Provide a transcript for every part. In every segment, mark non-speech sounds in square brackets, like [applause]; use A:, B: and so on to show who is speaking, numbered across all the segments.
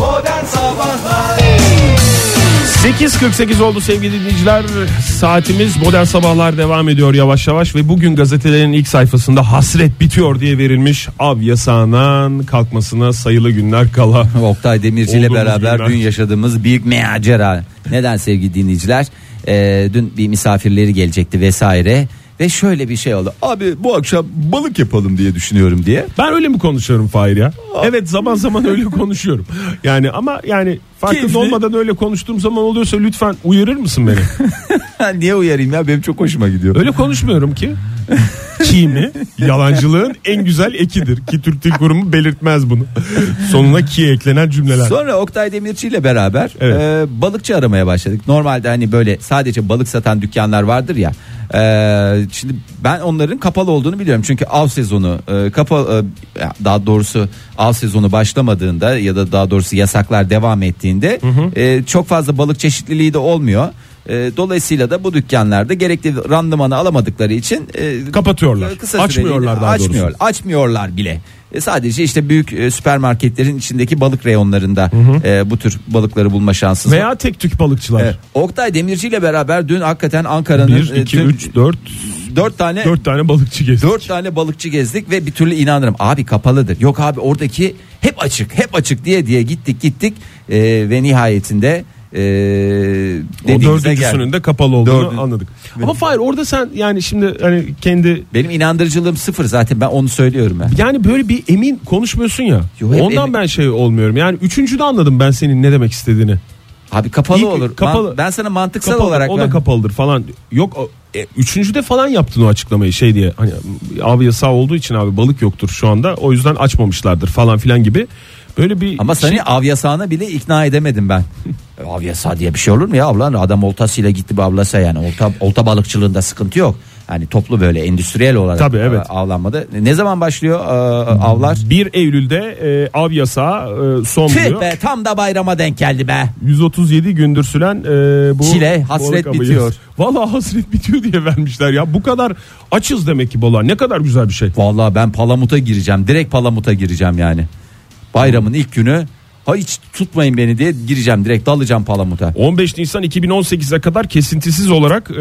A: Modern Sabahlar
B: 8.48 oldu sevgili dinleyiciler. Saatimiz modern sabahlar devam ediyor yavaş yavaş ve bugün gazetelerin ilk sayfasında hasret bitiyor diye verilmiş av yasağının kalkmasına sayılı günler kala.
C: Oktay Demirci ile
B: Olduğumuz
C: beraber
B: günler.
C: dün yaşadığımız büyük macera. Neden sevgili dinleyiciler? Ee, dün bir misafirleri gelecekti vesaire ve şöyle bir şey oldu. Abi bu akşam balık yapalım diye düşünüyorum diye. [laughs]
B: Ben öyle mi konuşuyorum Fahir ya? Evet zaman zaman öyle konuşuyorum. Yani ama yani farkında
C: Keyifli.
B: olmadan öyle konuştuğum zaman oluyorsa lütfen uyarır mısın beni?
C: Niye uyarayım ya benim çok hoşuma gidiyor.
B: Öyle konuşmuyorum ki. Ki mi? Yalancılığın en güzel ekidir. Ki Türk Dil Kurumu belirtmez bunu. Sonuna ki eklenen cümleler.
C: Sonra Oktay Demirci ile beraber
B: Evet.
C: e, balıkçı aramaya başladık. Normalde hani böyle sadece balık satan dükkanlar vardır ya. E, şimdi ben onların kapalı olduğunu biliyorum. Çünkü av sezonu e, kapalı e, daha doğrusu av sezonu başlamadığında ya da daha doğrusu yasaklar devam ettiğinde e, çok fazla balık çeşitliliği de olmuyor. E, dolayısıyla da bu dükkanlarda gerekli randımanı alamadık için e,
B: Kapatıyorlar.
C: Kısa
B: Açmıyorlar
C: süreliğine
B: daha doğrusu.
C: açmıyor, Açmıyorlar bile. E, sadece işte büyük e, süpermarketlerin içindeki balık reyonlarında e, bu tür babalıkları bulma şansınız var.
B: Veya tek tük balıkçılar.
C: E, Oktay Demirci ile beraber dün hakikaten Ankara'nın
B: 1, 2, 3, 4,
C: 4 tane
B: 4 tane balıkçı gezdik.
C: 4 tane balıkçı gezdik ve bir türlü inanırım abi kapalıdır. Yok abi oradaki hep açık, hep açık diye diye gittik gittik E, ve nihayetinde e,
B: o
C: dediğimize
B: dördüncüsünün
C: geldik.
B: de kapalı olduğunu
C: Dördün-
B: anladık. Ama Fahir orada sen yani şimdi hani kendi
C: Benim inandırıcılığım sıfır zaten ben onu söylüyorum ya.
B: yani böyle bir emin konuşmuyorsun ya.
C: Yo, hep
B: ondan
C: emin.
B: ben şey olmuyorum. Yani üçüncüde anladım ben senin ne demek istediğini.
C: Abi kapalı
B: İyi ki-
C: olur.
B: kapalı.
C: Ben, ben sana mantıksal
B: Kapalı,
C: olarak
B: o
C: ben-
B: da kapalıdır falan. Yok o- e, üçüncüde falan yaptın o açıklamayı şey diye. Hani abi yasağı olduğu için abi balık yoktur şu anda. O yüzden açmamışlardır falan filan gibi. Böyle bir
C: Ama seni
B: şey-
C: av yasağına bile ikna edemedim
B: [laughs]
C: ben. av yasağı diye bir şey olur mu ya ablan? Adam oltasıyla gitti bir avlasa yani. Olta, olta balıkçılığında sıkıntı yok. Yani toplu böyle endüstriyel olarak
B: Tabii, evet. Hmm.
C: e, avlanmada. Ne zaman başlıyor e, avlar?
B: 1 Eylül'de e, av yasağı e, son
C: Tüh
B: buluyor.
C: be tam da bayrama denk geldi be.
B: 137 gündür süren e, bu
C: Çile, hasret
B: balık avı.
C: bitiyor.
B: Vallahi hasret bitiyor diye vermişler ya. Bu kadar açız demek ki balığa. Ne kadar güzel bir şey.
C: Vallahi ben palamuta gireceğim. Direkt palamuta gireceğim yani. Bayramın ilk günü ha hiç tutmayın beni diye gireceğim direkt dalacağım palamuta.
B: 15 Nisan 2018'e kadar kesintisiz olarak e,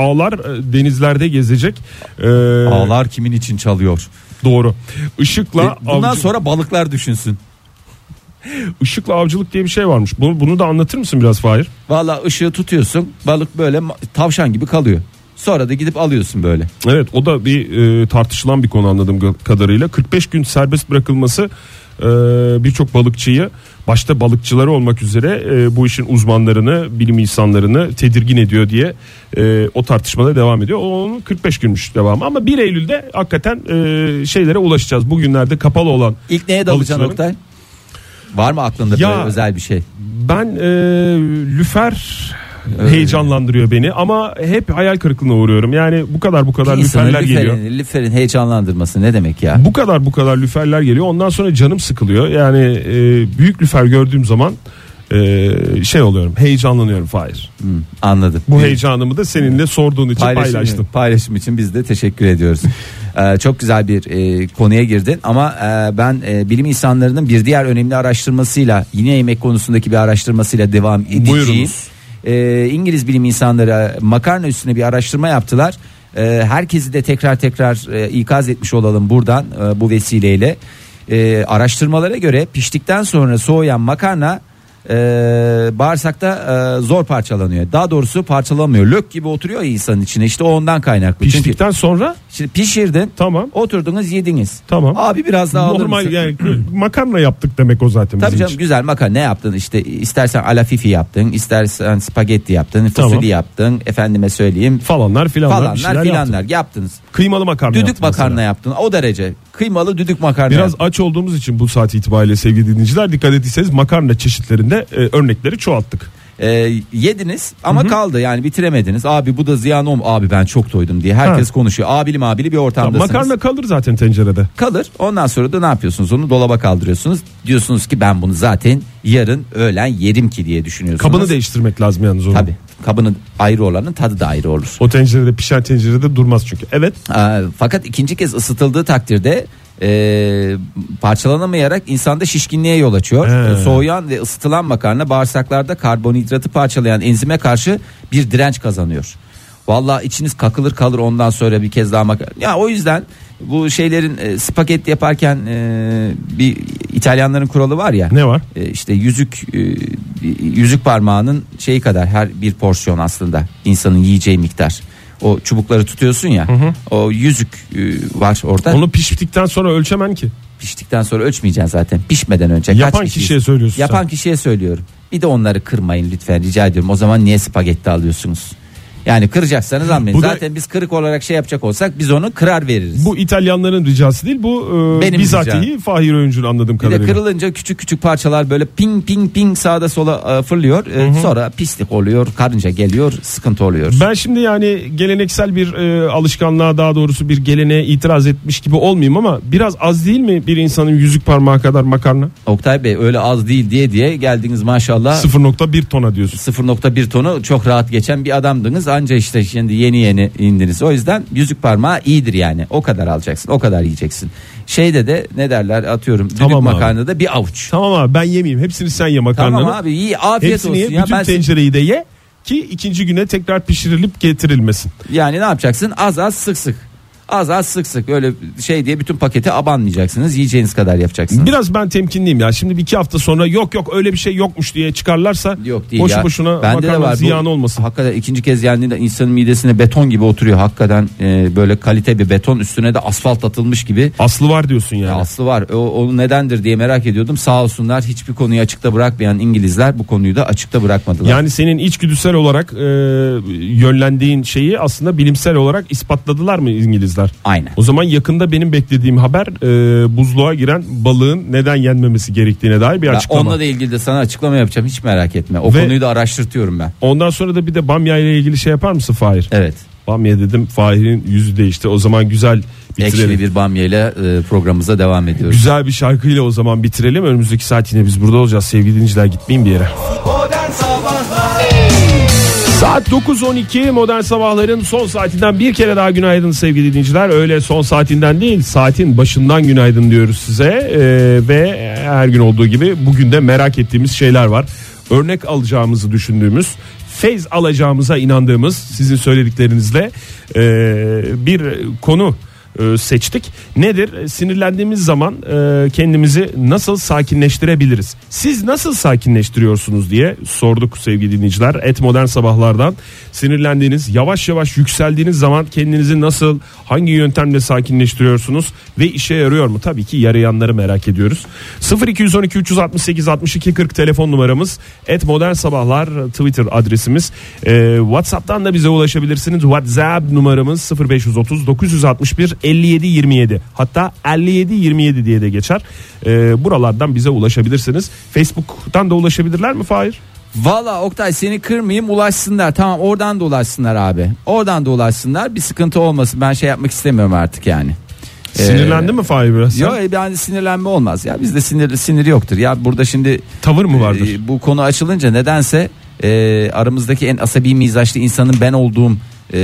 B: ağlar e, denizlerde gezecek. E,
C: Ağlar kimin için çalıyor? E,
B: Doğru. Işıkla
C: Bundan
B: avcı-
C: sonra balıklar düşünsün.
B: ışıkla avcılık diye bir şey varmış. Bunu, bunu da anlatır mısın biraz Fahir?
C: Valla ışığı tutuyorsun balık böyle ma- tavşan gibi kalıyor. Sonra da gidip alıyorsun böyle.
B: Evet o da bir e, tartışılan bir konu anladığım ga- kadarıyla. 45 gün serbest bırakılması e, birçok balıkçıyı başta balıkçıları olmak üzere e, bu işin uzmanlarını, bilim insanlarını tedirgin ediyor diye e, o tartışmada devam ediyor. Onun 45 günmüş devamı ama 1 Eylül'de hakikaten e, şeylere ulaşacağız. Bugünlerde kapalı olan
C: İlk neye dalacaksın
B: balıkçıların-
C: Oktay? Var mı aklında
B: Ya-
C: böyle özel bir şey?
B: Ben e, lüfer e, heyecanlandırıyor beni ama hep hayal kırıklığına uğruyorum. Yani bu kadar bu kadar
C: Bir insanı
B: lüferler geliyor.
C: lüferin, lüferin heyecanlandırması ne demek ya?
B: Bu kadar bu kadar lüferler geliyor. Ondan sonra canım sıkılıyor. Yani e, büyük lüfer gördüğüm zaman e, şey oluyorum. Heyecanlanıyorum Fahir.
C: Hı, anladım.
B: Bu heyecanımı da seninle sorduğun için
C: Paylaşım-
B: paylaştım.
C: Paylaşım için biz de teşekkür
B: [laughs]
C: ediyoruz. Ee, çok güzel bir e, konuya girdin ama e, ben e, bilim insanlarının bir diğer önemli araştırmasıyla yine yemek konusundaki bir araştırmasıyla devam edeceğim.
B: Buyurunuz.
C: Ee, İngiliz bilim insanları e, makarna üstüne bir araştırma yaptılar. Ee, herkesi de tekrar tekrar e, ikaz etmiş olalım buradan e, bu vesileyle. Ee, araştırmalara göre piştikten sonra soğuyan makarna e, bağırsakta e, zor parçalanıyor. Daha doğrusu parçalanmıyor. Lök gibi oturuyor ya insanın içine. İşte o ondan kaynaklı. Çünkü
B: Piştikten sonra
C: şimdi pişirdin.
B: Tamam.
C: Oturdunuz yediniz.
B: Tamam.
C: Abi biraz daha alır
B: normal
C: mısın? [clears throat]
B: yani makarna yaptık demek o zaten
C: Tabii
B: bizim
C: canım
B: için.
C: güzel makarna ne yaptın işte istersen alafifi yaptın istersen spagetti yaptın
B: Tamam.
C: fasulye yaptın efendime söyleyeyim
B: Falanlar filanlar, bir
C: falanlar
B: şeyler yaptık.
C: filanlar yaptınız.
B: Kıymalı makarna
C: Düdük
B: yaptık mesela.
C: makarna yaptın o derece kıymalı düdük makarna
B: Biraz
C: yaptın.
B: aç olduğumuz için bu saat itibariyle sevgili dinleyiciler dikkat ettiyseniz makarna çeşitlerinde e, örnekleri çoğalttık.
C: Ee, yediniz ama kaldı yani bitiremediniz abi bu da ziyan olm abi ben çok doydum diye herkes
B: Ha.
C: konuşuyor abili mabili bir
B: Ya,
C: ortamdasınız.
B: makarna kalır zaten tencerede.
C: kalır. Ondan sonra da ne yapıyorsunuz? Onu dolaba kaldırıyorsunuz. Diyorsunuz ki ben bunu zaten yarın öğlen yerim ki diye düşünüyorsunuz.
B: Kabını değiştirmek lazım yalnız onun.
C: Tabii. kabının ayrı olanın tadı da ayrı olur.
B: O tencerede pişen tencerede durmaz çünkü. Evet.
C: Aa, Ee, fakat ikinci kez ısıtıldığı takdirde e, parçalanamayarak insanda şişkinliğe yol açıyor.
B: He.
C: E, Soğuyan ve ısıtılan makarna bağırsaklarda karbonhidratı parçalayan enzime karşı bir direnç kazanıyor. Vallahi içiniz kakılır kalır ondan sonra bir kez daha makarna. Ya o yüzden bu şeylerin e, spagetti yaparken e, bir İtalyanların kuralı var ya.
B: Ne var?
C: E, işte yüzük e, yüzük parmağının şeyi kadar her bir porsiyon aslında insanın yiyeceği miktar. O çubukları tutuyorsun ya. O yüzük e, var orada.
B: Onu piştikten sonra ölçemen ki.
C: Piştikten sonra ölçmeyeceksin zaten. Pişmeden önce
B: Yapan
C: kişiyiz?
B: kişiye söylüyorsun
C: Yapan
B: sen.
C: kişiye söylüyorum. Bir de onları kırmayın lütfen rica ediyorum. O zaman niye spagetti alıyorsunuz? Yani kıracaksanız almayın.
B: Bu da-
C: Zaten biz kırık olarak şey yapacak olsak biz onu kırar veririz.
B: Bu İtalyanların ricası değil bu e,
C: Benim
B: bizatihi Fahir Öğüncü'nün anladığım
C: Bir de
B: kadarıyla.
C: kırılınca küçük küçük parçalar böyle ping ping ping sağda sola e, fırlıyor. E, Sonra pislik oluyor, karınca geliyor, sıkıntı oluyor.
B: Ben şimdi yani geleneksel bir e, alışkanlığa daha doğrusu bir geleneğe itiraz etmiş gibi olmayayım ama biraz az değil mi bir insanın yüzük parmağı kadar makarna?
C: Oktay Bey öyle az değil diye diye geldiniz maşallah.
B: 0.1 tona diyorsun.
C: 0.1 tonu çok rahat geçen bir adamdınız anca işte şimdi yeni yeni indiniz. O yüzden yüzük parmağı iyidir yani. O kadar alacaksın, o kadar yiyeceksin. Şeyde de ne derler atıyorum düdük
B: Tamam abi.
C: makarnada bir avuç.
B: Tamam abi ben yemeyeyim. Hepsini sen ye makarnanı.
C: Tamam abi iyi afiyet
B: Hepsini ye,
C: olsun ya.
B: bütün
C: Ben
B: tencereyi de ye ki ikinci güne tekrar pişirilip getirilmesin.
C: Yani ne yapacaksın? Az az sık sık. Az az sık sık öyle şey diye bütün paketi abanmayacaksınız. Yiyeceğiniz kadar yapacaksınız.
B: Biraz ben temkinliyim ya. Şimdi bir iki hafta sonra yok yok öyle bir şey yokmuş diye çıkarlarsa
C: Yok değil
B: boşu
C: ya.
B: boşuna
C: Bende de
B: makarna
C: var. Bu
B: ziyan olmasın.
C: Hakikaten ikinci kez yendiğinde insanın midesine beton gibi oturuyor. Hakikaten e, böyle kalite bir beton üstüne de asfalt atılmış gibi.
B: Aslı var diyorsun yani.
C: Ya Aslı var. O, o nedendir diye merak ediyordum. Sağ olsunlar hiçbir konuyu açıkta bırakmayan İngilizler bu konuyu da açıkta bırakmadılar.
B: Yani senin içgüdüsel olarak e, yönlendiğin şeyi aslında bilimsel olarak ispatladılar mı İngilizler?
C: Aynen.
B: O zaman yakında benim beklediğim haber e, buzluğa giren balığın neden yenmemesi gerektiğine dair bir
C: Ya
B: açıklama.
C: onunla da ilgili de sana açıklama yapacağım. Hiç merak etme. O
B: Ve-
C: konuyu da araştırtıyorum ben.
B: Ondan sonra da bir de bamya ile ilgili şey yapar mısın Fahir?
C: Evet.
B: Bamya dedim Fahir'in yüzü değişti. O zaman güzel bitirelim.
C: Ekşili bir bamya ile e, programımıza devam ediyoruz.
B: Güzel bir şarkıyla o zaman bitirelim. Önümüzdeki saat yine biz burada olacağız. Sevgili dinleyiciler gitmeyin bir yere. Saat 9.12 modern sabahların son saatinden bir kere daha günaydın sevgili dinleyiciler. Öyle son saatinden değil saatin başından günaydın diyoruz size. Ee, ve her gün olduğu gibi bugün de merak ettiğimiz şeyler var. Örnek alacağımızı düşündüğümüz, feyz alacağımıza inandığımız sizin söylediklerinizle ee, bir konu ee, seçtik. Nedir? E, Sinirlendiğimiz zaman e, kendimizi nasıl sakinleştirebiliriz? Siz nasıl sakinleştiriyorsunuz diye sorduk sevgili dinleyiciler. Et modern sabahlardan sinirlendiğiniz, yavaş yavaş yükseldiğiniz zaman kendinizi nasıl, hangi yöntemle sakinleştiriyorsunuz ve işe yarıyor mu? Tabii ki yarayanları merak ediyoruz. 0212 368 62 40 telefon numaramız. Et modern sabahlar Twitter adresimiz. Ee, WhatsApp'tan da bize ulaşabilirsiniz. WhatsApp numaramız 0530 961 57 27. Hatta 57 27 diye de geçer. Ee, buralardan bize ulaşabilirsiniz. Facebook'tan da ulaşabilirler mi Fahir?
C: Valla Oktay seni kırmayayım ulaşsınlar. Tamam oradan da ulaşsınlar abi. Oradan da ulaşsınlar. Bir sıkıntı olmasın. Ben şey yapmak istemiyorum artık yani. Ee, e,
B: Sinirlendi mi Fahir biraz?
C: Yok yani sinirlenme olmaz ya bizde sinir sinir yoktur ya burada şimdi
B: Tavır mı vardır?
C: e, bu konu açılınca nedense e, aramızdaki en asabi mizaçlı insanın ben olduğum e,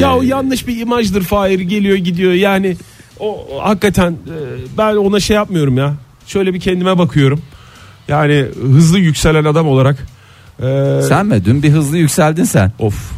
B: Ya o yanlış bir imajdır Fahir geliyor gidiyor yani o, o hakikaten e, ben ona şey yapmıyorum ya şöyle bir kendime bakıyorum yani hızlı yükselen adam olarak e,
C: sen mi dün bir hızlı yükseldin sen of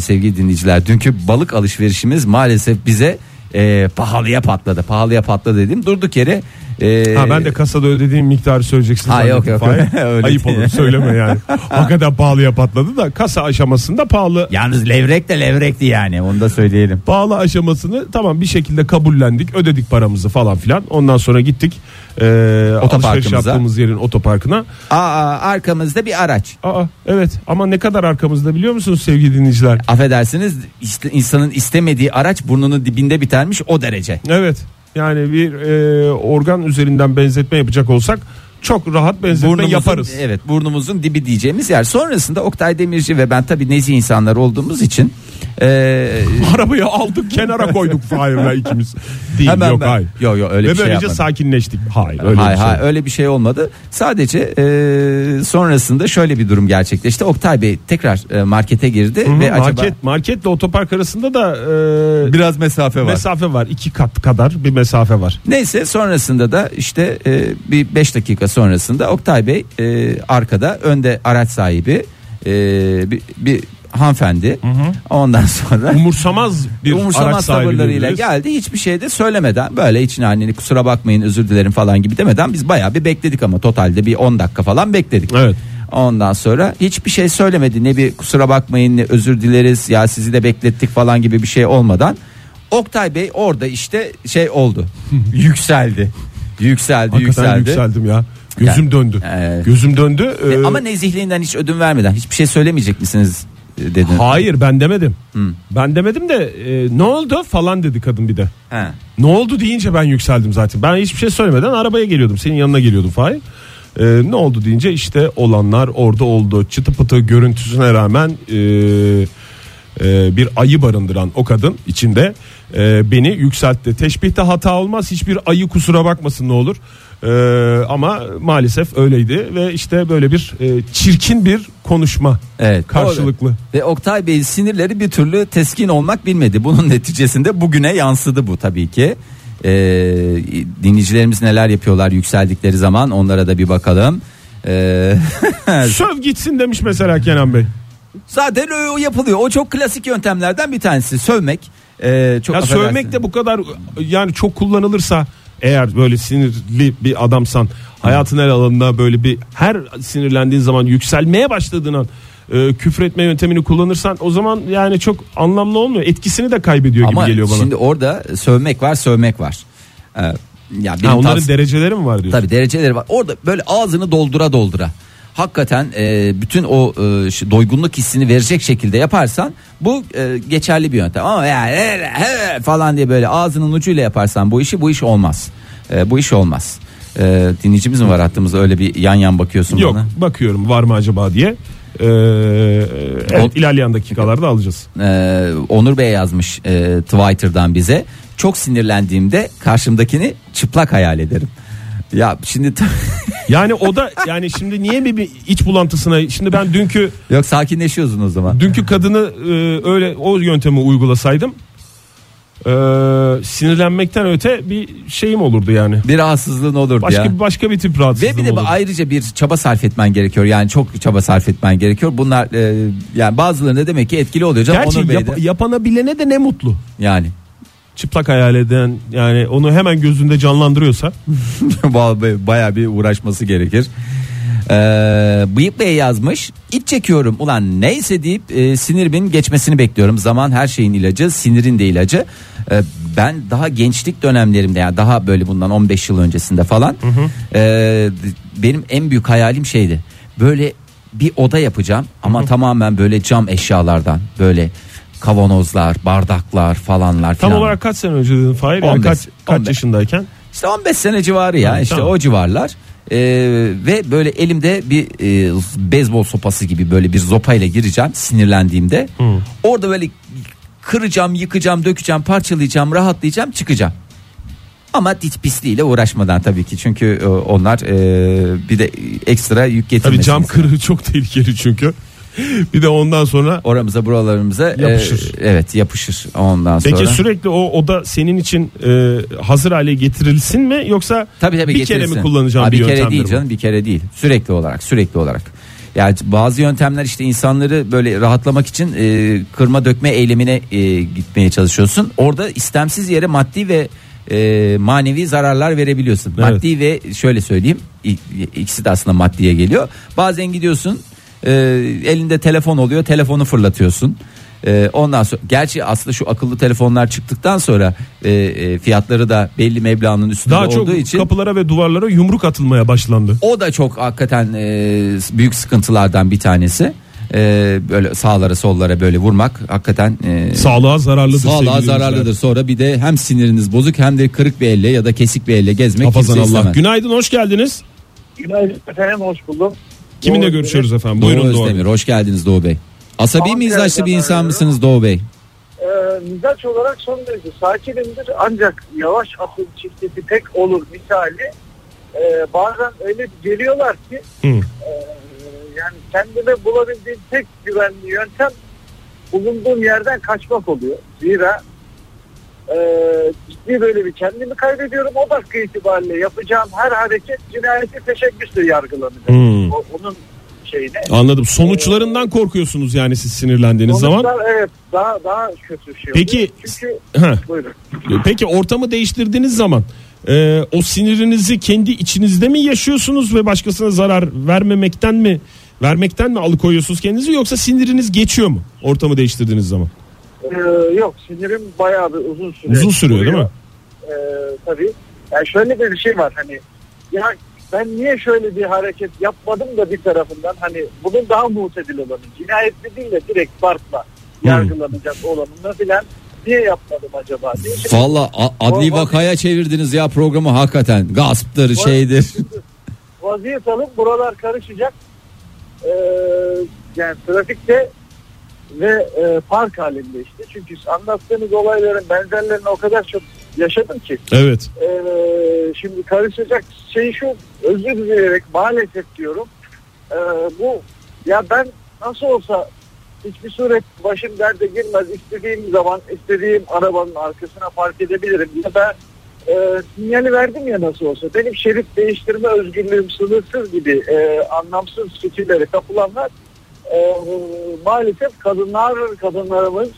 C: sevgili dinleyiciler dünkü balık alışverişimiz maalesef bize e, pahalıya patladı pahalıya patladı dedim durduk yere e,
B: Ha ben de kasada ödediğim miktarı söyleyeceksin.
C: Ha,
B: zannettim.
C: yok, yok. [laughs]
B: Fahir.
C: Öyle
B: Ayıp
C: değil.
B: olur
C: [laughs]
B: söyleme yani. Hakikaten pahalıya patladı da kasa aşamasında pahalı
C: yalnız levrek de levrekti yani onu da söyleyelim
B: pahalı aşamasını tamam bir şekilde kabullendik ödedik paramızı falan filan ondan sonra gittik e, alışveriş
C: Otoparkımıza.
B: yaptığımız yerin otoparkına
C: Aa, arkamızda bir araç
B: Aa evet ama ne kadar arkamızda biliyor musunuz sevgili dinleyiciler?
C: Affedersiniz işte insanın istemediği araç burnunun dibinde bitermiş o derece.
B: Evet yani bir e, organ üzerinden benzetme yapacak olsak çok rahat benzetme
C: Burnumuzun- E-
B: yaparız.
C: Evet burnumuzun dibi diyeceğimiz yer. Sonrasında Oktay Demirci ve ben tabii nezih insanlar olduğumuz için Ee,
B: Arabayı aldık kenara koyduk Fahir'le ikimiz. Değil
C: Hemen
B: yok
C: ben-
B: hayır.
C: Yok, yok, öyle
B: Ve
C: bir şey
B: böylece
C: yapmadım.
B: sakinleştik. Hayır öyle
C: hay
B: bir şey.
C: hay, öyle bir şey olmadı. Sadece e, sonrasında şöyle bir durum gerçekleşti. Oktay Bey tekrar e, markete girdi
B: Hı,
C: ve
B: market,
C: acaba
B: marketle otopark arasında da e,
C: biraz mesafe
B: mesafe var. iki kat kadar bir mesafe var.
C: Neyse sonrasında da işte e, bir 5 dakika sonrasında Oktay Bey e, arkada önde araç sahibi e, bir, bir hanımefendi. Ondan sonra
B: Umursamaz bir araç
C: umursamaz
B: sahibi
C: tavırlarıyla
B: diyebiliriz.
C: geldi. Hiçbir şey de söylemeden böyle içine anneni kusura bakmayın özür dilerim falan gibi demeden biz bayağı bir bekledik ama totalde bir 10 dakika falan bekledik.
B: Evet.
C: Ondan sonra hiçbir şey söylemedi. Ne bir kusura bakmayın ne özür dileriz ya sizi de beklettik falan gibi bir şey olmadan. Oktay Bey orada işte şey
B: [laughs]
C: oldu. yükseldi. Yükseldi,
B: Hakikaten
C: yükseldi.
B: yükseldim ya. Gözüm
C: Yani,
B: döndü.
C: evet.
B: Gözüm döndü.
C: E,
B: Ee,
C: ama nezihliğinden hiç ödün vermeden hiçbir şey söylemeyecek misiniz e, dedin.
B: Hayır ben demedim. Ben demedim de e, ne oldu falan dedi kadın bir de.
C: Ha.
B: Ne oldu deyince ben yükseldim zaten. Ben hiçbir şey söylemeden arabaya geliyordum. Senin yanına geliyordum Fahir. E, ne oldu deyince işte olanlar orada oldu. Çıtı pıtı görüntüsüne rağmen e, e, bir ayı barındıran o kadın içinde e, beni yükseltti. Teşbihte hata olmaz. Hiçbir ayı kusura bakmasın ne olur. E, ama maalesef öyleydi ve işte böyle bir e, çirkin bir konuşma
C: Evet.
B: karşılıklı.
C: Doğru. Ve Oktay Bey'in sinirleri bir türlü teskin olmak bilmedi. Bunun [laughs] neticesinde bugüne yansıdı bu tabii ki. Ee, dinleyicilerimiz neler yapıyorlar yükseldikleri zaman onlara da bir bakalım. Ee, [laughs]
B: Söv gitsin demiş mesela Kenan Bey.
C: zaten o yapılıyor. O çok klasik yöntemlerden bir tanesi. Sövmek. Ee, çok
B: Ya
C: affedersin.
B: sövmek de bu kadar yani çok kullanılırsa eğer böyle sinirli bir adamsan hayatın her alanında böyle bir her sinirlendiğin zaman yükselmeye başladığın an e, küfretme yöntemini kullanırsan o zaman yani çok anlamlı olmuyor. Etkisini de kaybediyor
C: Ama
B: gibi geliyor bana.
C: şimdi orada sövmek var sövmek var. Ee, ya benim
B: ha, onların
C: tavsi-
B: dereceleri mi var diyorsun?
C: Tabii dereceleri var. Orada böyle ağzını doldura doldura. Hakikaten e, bütün o e, şu doygunluk hissini verecek şekilde yaparsan bu e, geçerli bir yöntem. Ama yani he, he falan diye böyle ağzının ucuyla yaparsan bu işi bu iş olmaz. E, bu iş olmaz. E, dinleyicimiz mi var hattımızda öyle bir yan yan bakıyorsun
B: Yok
C: bana?
B: bakıyorum var mı acaba diye. Ee, evet,
C: O-
B: ilerleyen dakikalarda alacağız.
C: Ee, Onur Bey yazmış e, Twitter'dan bize. Çok sinirlendiğimde karşımdakini çıplak hayal ederim. Ya şimdi t- [laughs]
B: Yani o da yani şimdi niye bir, bir iç bulantısına şimdi ben dünkü
C: yok sakinleşiyorsun o zaman.
B: Dünkü kadını e, öyle o yöntemi uygulasaydım e, sinirlenmekten öte bir şeyim olurdu yani.
C: Bir rahatsızlığın olurdu
B: Başka
C: ya.
B: başka bir tip
C: Ve
B: rahatsızlığım
C: bir de
B: olurdu.
C: ayrıca bir çaba sarf etmen gerekiyor. Yani çok çaba sarf etmen gerekiyor. Bunlar e, yani bazılarında demek ki etkili oluyor. Canım
B: Gerçi
C: Onur Bey
B: yap-
C: de-
B: yapana bilene de ne mutlu.
C: yani
B: Çıplak hayal eden yani onu hemen gözünde canlandırıyorsa.
C: [laughs] Vallahi bayağı bir uğraşması gerekir. Ee, Bıyık Bey yazmış. İç çekiyorum ulan neyse deyip e, sinirimin geçmesini bekliyorum. Zaman her şeyin ilacı, sinirin de ilacı. Ee, ben daha gençlik dönemlerimde yani daha böyle bundan 15 yıl öncesinde falan e, benim en büyük hayalim şeydi. Böyle bir oda yapacağım ama tamamen böyle cam eşyalardan böyle kavanozlar, bardaklar falanlar
B: Tam
C: filan.
B: olarak kaç sene önce dedin Fahir? Yani
C: 15,
B: kaç, kaç
C: 15.
B: yaşındayken?
C: İşte 15 sene civarı ya
B: Ha,
C: işte
B: tamam.
C: o civarlar. Ee, ve böyle elimde bir e, beyzbol sopası gibi böyle bir zopayla gireceğim sinirlendiğimde. Orada böyle kıracağım, yıkacağım, dökeceğim, parçalayacağım, rahatlayacağım, çıkacağım. Ama diç pisliğiyle uğraşmadan tabii ki çünkü e, onlar e, bir de ekstra yük getirmesin.
B: Tabii cam kırığı çok tehlikeli çünkü. [laughs] bir de ondan sonra
C: Oramıza buralarımıza e,
B: Yapışır.
C: evet yapışır ondan sonra.
B: Peki sürekli o oda senin için e, hazır hale getirilsin mi yoksa
C: Tabii tabii
B: bir kere mi
C: getirirsin.
B: kullanacağım
C: Ha,
B: bir,
C: bir kere
B: yöntemdir
C: değil
B: bu?
C: canım bir kere değil. Sürekli olarak sürekli olarak. Yani bazı yöntemler işte insanları böyle rahatlamak için e, kırma dökme eylemine e, gitmeye çalışıyorsun. Orada istemsiz yere maddi ve e, manevi zararlar verebiliyorsun.
B: Evet.
C: Maddi ve şöyle söyleyeyim i- ikisi de aslında maddiye geliyor. Bazen gidiyorsun e, elinde telefon oluyor telefonu fırlatıyorsun. E, ondan sonra gerçi aslında şu akıllı telefonlar çıktıktan sonra e, e, fiyatları da belli meblağının üstünde
B: Daha
C: olduğu
B: çok
C: için
B: kapılara ve duvarlara yumruk atılmaya başlandı.
C: o da çok hakikaten e, büyük sıkıntılardan bir tanesi. E, böyle sağlara sollara böyle vurmak hakikaten e,
B: Sağlığa zararlıdır.
C: sağlığa
B: sevgili
C: zararlıdır.
B: dinleyiciler.
C: Sonra bir de hem siniriniz bozuk hem de kırık bir elle ya da kesik bir elle gezmek
B: Hafazan
C: kimse
B: Allah.
C: istemez.
B: Günaydın hoş geldiniz.
A: Günaydın efendim hoş buldum.
B: Kiminle
A: Doğru.
B: görüşüyoruz efendim?
C: Doğu
B: Buyurun Doğru.
C: Özdemir hoş geldiniz Doğu Bey. Asabi
A: Ankara'dan
C: mizaçlı bir insan
A: arıyorum.
C: mısınız Doğu Bey?
A: e, mizaç olarak son derece sakinimdir. Ancak yavaş atın çiftesi pek olur misali. E, bazen öyle geliyorlar ki
B: Hı.
A: e, yani kendime bulabildiğim tek güvenli yöntem bulunduğum yerden kaçmak oluyor. Zira e, ciddi böyle bir kendimi kaybediyorum. O dakika itibariyle yapacağım her hareket cinayeti teşebbüsle yargılanacak.
B: Hı.
A: O- onun şeyine.
B: Anladım. Sonuçlarından korkuyorsunuz yani siz sinirlendiğiniz zaman.
A: Sonuçlar, Evet daha daha kötü şey
B: Peki-
A: oluyor. Çünkü
B: Heh.
A: buyurun.
B: Peki ortamı değiştirdiğiniz zaman e, o sinirinizi kendi içinizde mi yaşıyorsunuz ve başkasına zarar vermemekten mi vermekten mi alıkoyuyorsunuz kendinizi yoksa siniriniz geçiyor mu ortamı değiştirdiğiniz zaman?
A: Ee, yok sinirim bayağı bir uzun sürüyor.
B: Uzun sürüyor değil mi?
A: Ee, tabii. Yani şöyle de bir şey var hani ya ben niye şöyle bir hareket yapmadım da bir tarafından hani bunun daha muhtedil olanı cinayetli değil de direkt farkla
B: Hmm.
A: yargılanacak olanını filan niye yapmadım acaba diye. Şimdi
C: Valla a- adli
A: Var- var-
C: vakaya çevirdiniz ya programı hakikaten. Gasptır şeydir.
A: vaziyet alıp buralar karışacak. Ee, yani trafikte ve e, park halinde işte. Çünkü anlattığınız olayların benzerlerini o kadar çok yaşadım ki.
B: Evet.
A: Ee, şimdi karışacak şey şu özür dileyerek maalesef diyorum. Ee, bu ya ben nasıl olsa hiçbir suret başım derde girmez istediğim zaman istediğim arabanın arkasına park edebilirim ya da e, sinyali verdim ya nasıl olsa benim şerit değiştirme özgürlüğüm sınırsız gibi e, anlamsız fikirlere kapılanlar e, maalesef kadınlar kadınlarımız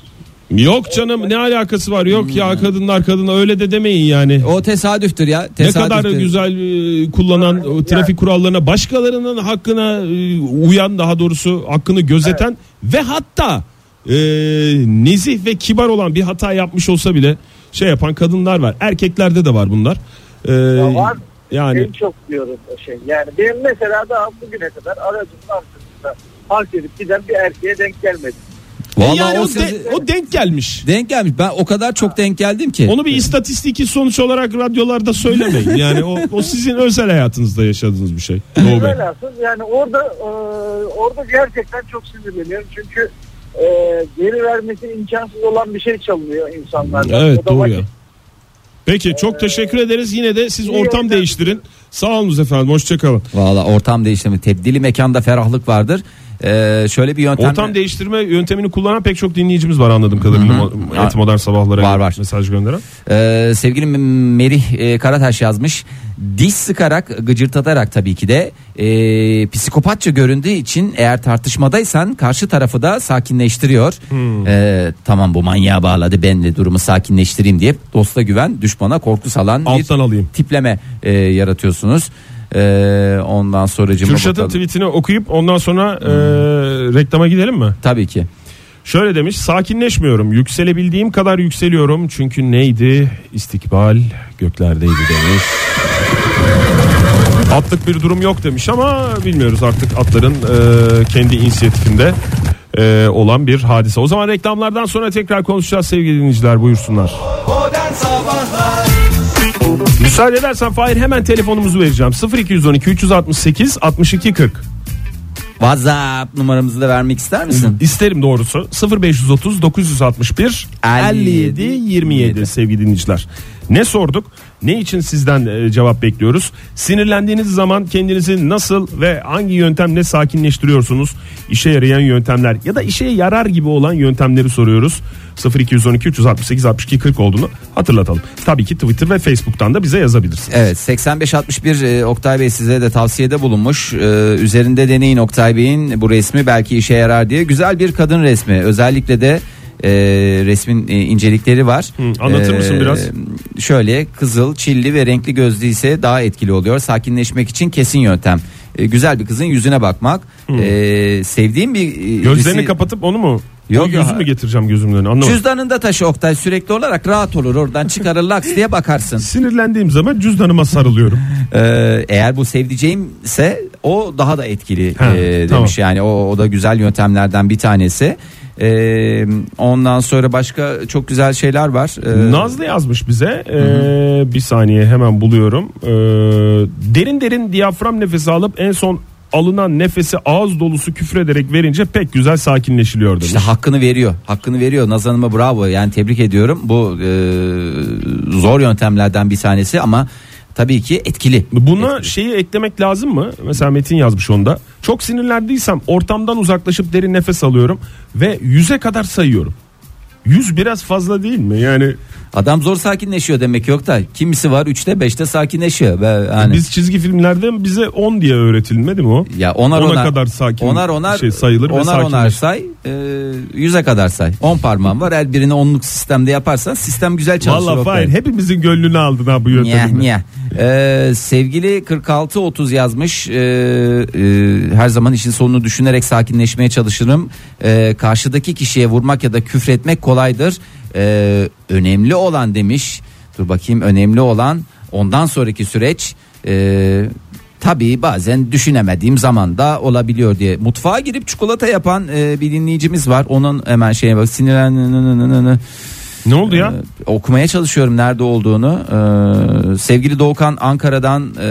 B: Yok canım ne alakası var? Yok ya kadınlar kadına öyle de demeyin yani.
C: O tesadüftür ya.
B: Ne
C: Tesadüftür.
B: kadar güzel e, kullanan o trafik kurallarına, başkalarının hakkına e, uyan daha doğrusu hakkını gözeten ve hatta e, nezih ve kibar olan bir hata yapmış olsa bile şey yapan kadınlar var. Erkeklerde de var bunlar. E,
A: Ya var. E,
B: Yani
A: En çok diyorum o şey. Yani benim mesela daha bugüne kadar aracımın arkasında park edip giden bir erkeğe denk gelmedi.
C: Vallahi
B: Yani
C: o,
B: o,
C: sizi-
B: de- o denk gelmiş.
C: denk gelmiş. Ben o kadar çok denk geldim ki.
B: Onu bir istatistiki sonuç olarak radyolarda söylemeyin. Yani o, o sizin özel hayatınızda yaşadığınız bir şey. Doğu Bey.
A: Velhasıl yani orada e, orada gerçekten çok sinirleniyorum. Çünkü e, geri vermesi imkansız olan bir şey çalınıyor insanlardan.
B: Evet
A: O da
B: doğru
A: vakit.
B: ya. Peki çok teşekkür ederiz. Yine de siz
A: iyi
B: ortam
A: yayınlar
B: değiştirin. Sağ olunuz efendim. Hoşçakalın.
C: Valla ortam değişimi tebdili mekanda ferahlık vardır. Ee, şöyle bir yöntem
B: Ortam değiştirme yöntemini kullanan pek çok dinleyicimiz var anladığım kadarıyla. Mo- Et modern sabahlara
C: Var, var.
B: mesaj gönderen.
C: Ee, sevgili Merih e, Karataş yazmış. Diş sıkarak, gıcırtatarak tabii ki de e, psikopatça göründüğü için eğer tartışmadaysan karşı tarafı da sakinleştiriyor.
B: Hmm.
C: Ee, tamam bu manyağa bağladı ben de durumu sakinleştireyim diye dosta güven, düşmana korku salan bir
B: Alttan alayım.
C: tipleme e, yaratıyorsunuz. Ee, ondan sonra
B: Kürşat'ın tweetini okuyup ondan sonra e, reklama gidelim mi?
C: Tabii ki.
B: Şöyle demiş sakinleşmiyorum yükselebildiğim kadar yükseliyorum çünkü neydi istikbal göklerdeydi demiş. Atlık bir durum yok demiş ama bilmiyoruz artık atların e, kendi inisiyatifinde e, olan bir hadise. O zaman reklamlardan sonra tekrar konuşacağız sevgili dinleyiciler buyursunlar. Müsaade edersen Fahir hemen telefonumuzu vereceğim 0212 368 62 40.
C: WhatsApp numaramızı da vermek ister misin?
B: İsterim doğrusu 0530 961 57 27 sevgili dinleyiciler. Ne sorduk? Ne için sizden e, cevap bekliyoruz? Sinirlendiğiniz zaman kendinizi nasıl ve hangi yöntemle sakinleştiriyorsunuz? İşe yarayan yöntemler ya da işe yarar gibi olan yöntemleri soruyoruz. 0212 368 62 40 olduğunu hatırlatalım. Tabii ki Twitter ve Facebook'tan da bize yazabilirsiniz.
C: Evet 8561 e, Oktay Bey size de tavsiyede bulunmuş. E, üzerinde deneyin Oktay Bey'in bu resmi belki işe yarar diye. Güzel bir kadın resmi özellikle de e, resmin e, incelikleri var. E,
B: anlatır mısın biraz?
C: Şöyle kızıl, çilli ve renkli gözlü ise daha etkili oluyor. Sakinleşmek için kesin yöntem. E, güzel bir kızın yüzüne bakmak. E, sevdiğim bir e,
B: Gözlerini
C: resim-
B: kapatıp onu mu?
C: Yok,
B: o gözü
C: yok.
B: mü getireceğim gözümün önüne anlamadım.
C: Cüzdanında taşı Oktay sürekli olarak rahat olur oradan çıkarır laks diye bakarsın.
B: Sinirlendiğim zaman cüzdanıma sarılıyorum.
C: [laughs] Ee, eğer bu sevdiceğimse o daha da etkili
B: Ha,
C: e, demiş
B: tamam.
C: yani o, o da güzel yöntemlerden bir tanesi. Ee, ondan sonra başka çok güzel şeyler var. Ee,
B: Nazlı yazmış bize. Ee, bir saniye hemen buluyorum. Ee, derin derin diyafram nefesi alıp en son alınan nefesi ağız dolusu küfrederek verince pek güzel sakinleşiliyor demiş.
C: İşte hakkını veriyor. Hakkını veriyor. Naz Hanım'a bravo. Yani tebrik ediyorum. Bu e, zor yöntemlerden bir tanesi ama tabii ki etkili.
B: Buna şeyi eklemek lazım mı? Mesela Metin yazmış onda. Çok sinirlendiysem ortamdan uzaklaşıp derin nefes alıyorum ve yüze kadar sayıyorum. Yüz biraz fazla değil mi? Yani
C: Adam zor sakinleşiyor demek yok da kimisi var 3'te 5'te sakinleşiyor. Ve yani
B: biz çizgi filmlerde bize 10 diye öğretilmedi mi o?
C: ya onar
B: ona
C: onar
B: kadar sakin
C: onar onar
B: şey sayılır ve
C: onar onar
B: sakinleşir.
C: say e, yüze kadar say 10 parmağın var her birini onluk sistemde yaparsan sistem güzel çalışır.
B: Valla
C: Oktay.
B: Fahir hepimizin gönlünü aldın ha bu
C: Niye,
B: yöntemle.
C: niye? Ee, sevgili 4630 yazmış. Ee, e, her zaman işin sonunu düşünerek sakinleşmeye çalışırım. Ee, karşıdaki kişiye vurmak ya da küfretmek kolaydır. Ee, önemli olan demiş. Dur bakayım önemli olan ondan sonraki süreç. Ee, Tabii bazen düşünemediğim zaman da olabiliyor diye. Mutfağa girip çikolata yapan e, bir dinleyicimiz var. Onun hemen şeye bak sinirlen
B: Ne oldu ya?
C: ee, okumaya çalışıyorum nerede olduğunu. Ee, sevgili Doğukan Ankara'dan e,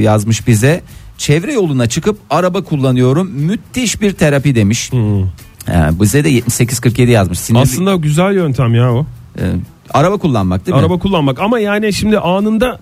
C: yazmış bize. Çevre yoluna çıkıp araba kullanıyorum. Müthiş bir terapi demiş. Ee, bize de 7847 yazmış. Sinirli-
B: Aslında güzel yöntem ya o.
C: Ee, araba kullanmak değil mi?
B: Araba kullanmak ama yani şimdi anında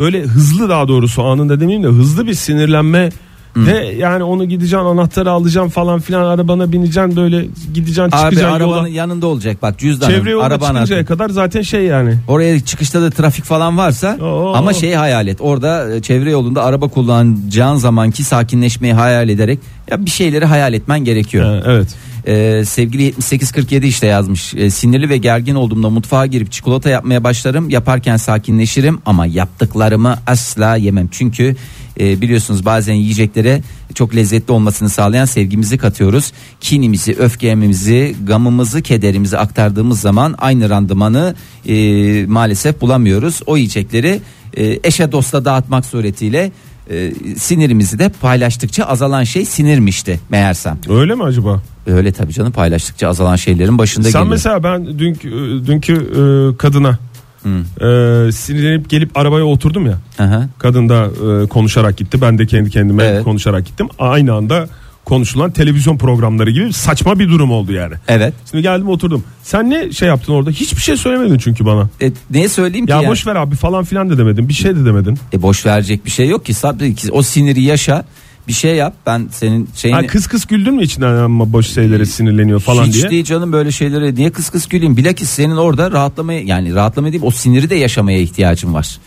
B: böyle hızlı daha doğrusu anında demeyeyim de hızlı bir sinirlenme de yani onu gideceksin anahtarı alacaksın falan filan arabana bineceksin böyle gideceksin
C: Abi
B: çıkacaksın
C: arabanın
B: yola.
C: yanında olacak bak cüzdanım.
B: Çevre yoluna
C: araba
B: çıkıncaya
C: anahtarı.
B: kadar zaten şey yani.
C: Oraya çıkışta da trafik falan varsa
B: Oo.
C: ama şeyi hayal et. Orada e, çevre yolunda araba kullanacağın zamanki sakinleşmeyi hayal ederek ya bir şeyleri hayal etmen gerekiyor.
B: Ha, evet.
C: Ee, sevgili 7847 işte yazmış. Ee, sinirli ve gergin olduğumda mutfağa girip çikolata yapmaya başlarım. Yaparken sakinleşirim ama yaptıklarımı asla yemem. Çünkü e, biliyorsunuz bazen yiyeceklere çok lezzetli olmasını sağlayan sevgimizi katıyoruz. Kinimizi, öfkemizi, gamımızı, kederimizi aktardığımız zaman aynı randımanı e, maalesef bulamıyoruz. O yiyecekleri e, eşe dosta dağıtmak suretiyle e, sinirimizi de paylaştıkça azalan şey sinirmişti meğersem.
B: Öyle mi acaba?
C: Öyle tabii canım paylaştıkça azalan şeylerin başında
B: Sen
C: geliyor.
B: mesela ben dünkü dünkü e, kadına e, sinirlenip gelip arabaya oturdum ya.
C: Aha.
B: Kadın da e, konuşarak gitti. Ben de kendi kendime
C: Evet.
B: konuşarak gittim. Aynı anda konuşulan televizyon programları gibi saçma bir durum oldu yani.
C: Evet.
B: Şimdi geldim oturdum. Sen ne şey yaptın orada? Hiçbir şey söylemedin çünkü bana.
C: E, neye söyleyeyim ki?
B: Ya
C: yani?
B: boş ver abi falan filan da demedin. Bir şey de demedin.
C: E, boş verecek bir şey yok ki. Sabri ki o siniri yaşa. Bir şey yap. Ben senin şeyini
B: Ha, kız kız güldün mü içinden ama boş şeylere sinirleniyor falan
C: Hiç
B: diye.
C: değil canım böyle şeylere niye kıs kıs güleyim bilakis senin orada rahatlamaya yani rahatlamaya değil o siniri de yaşamaya ihtiyacın var.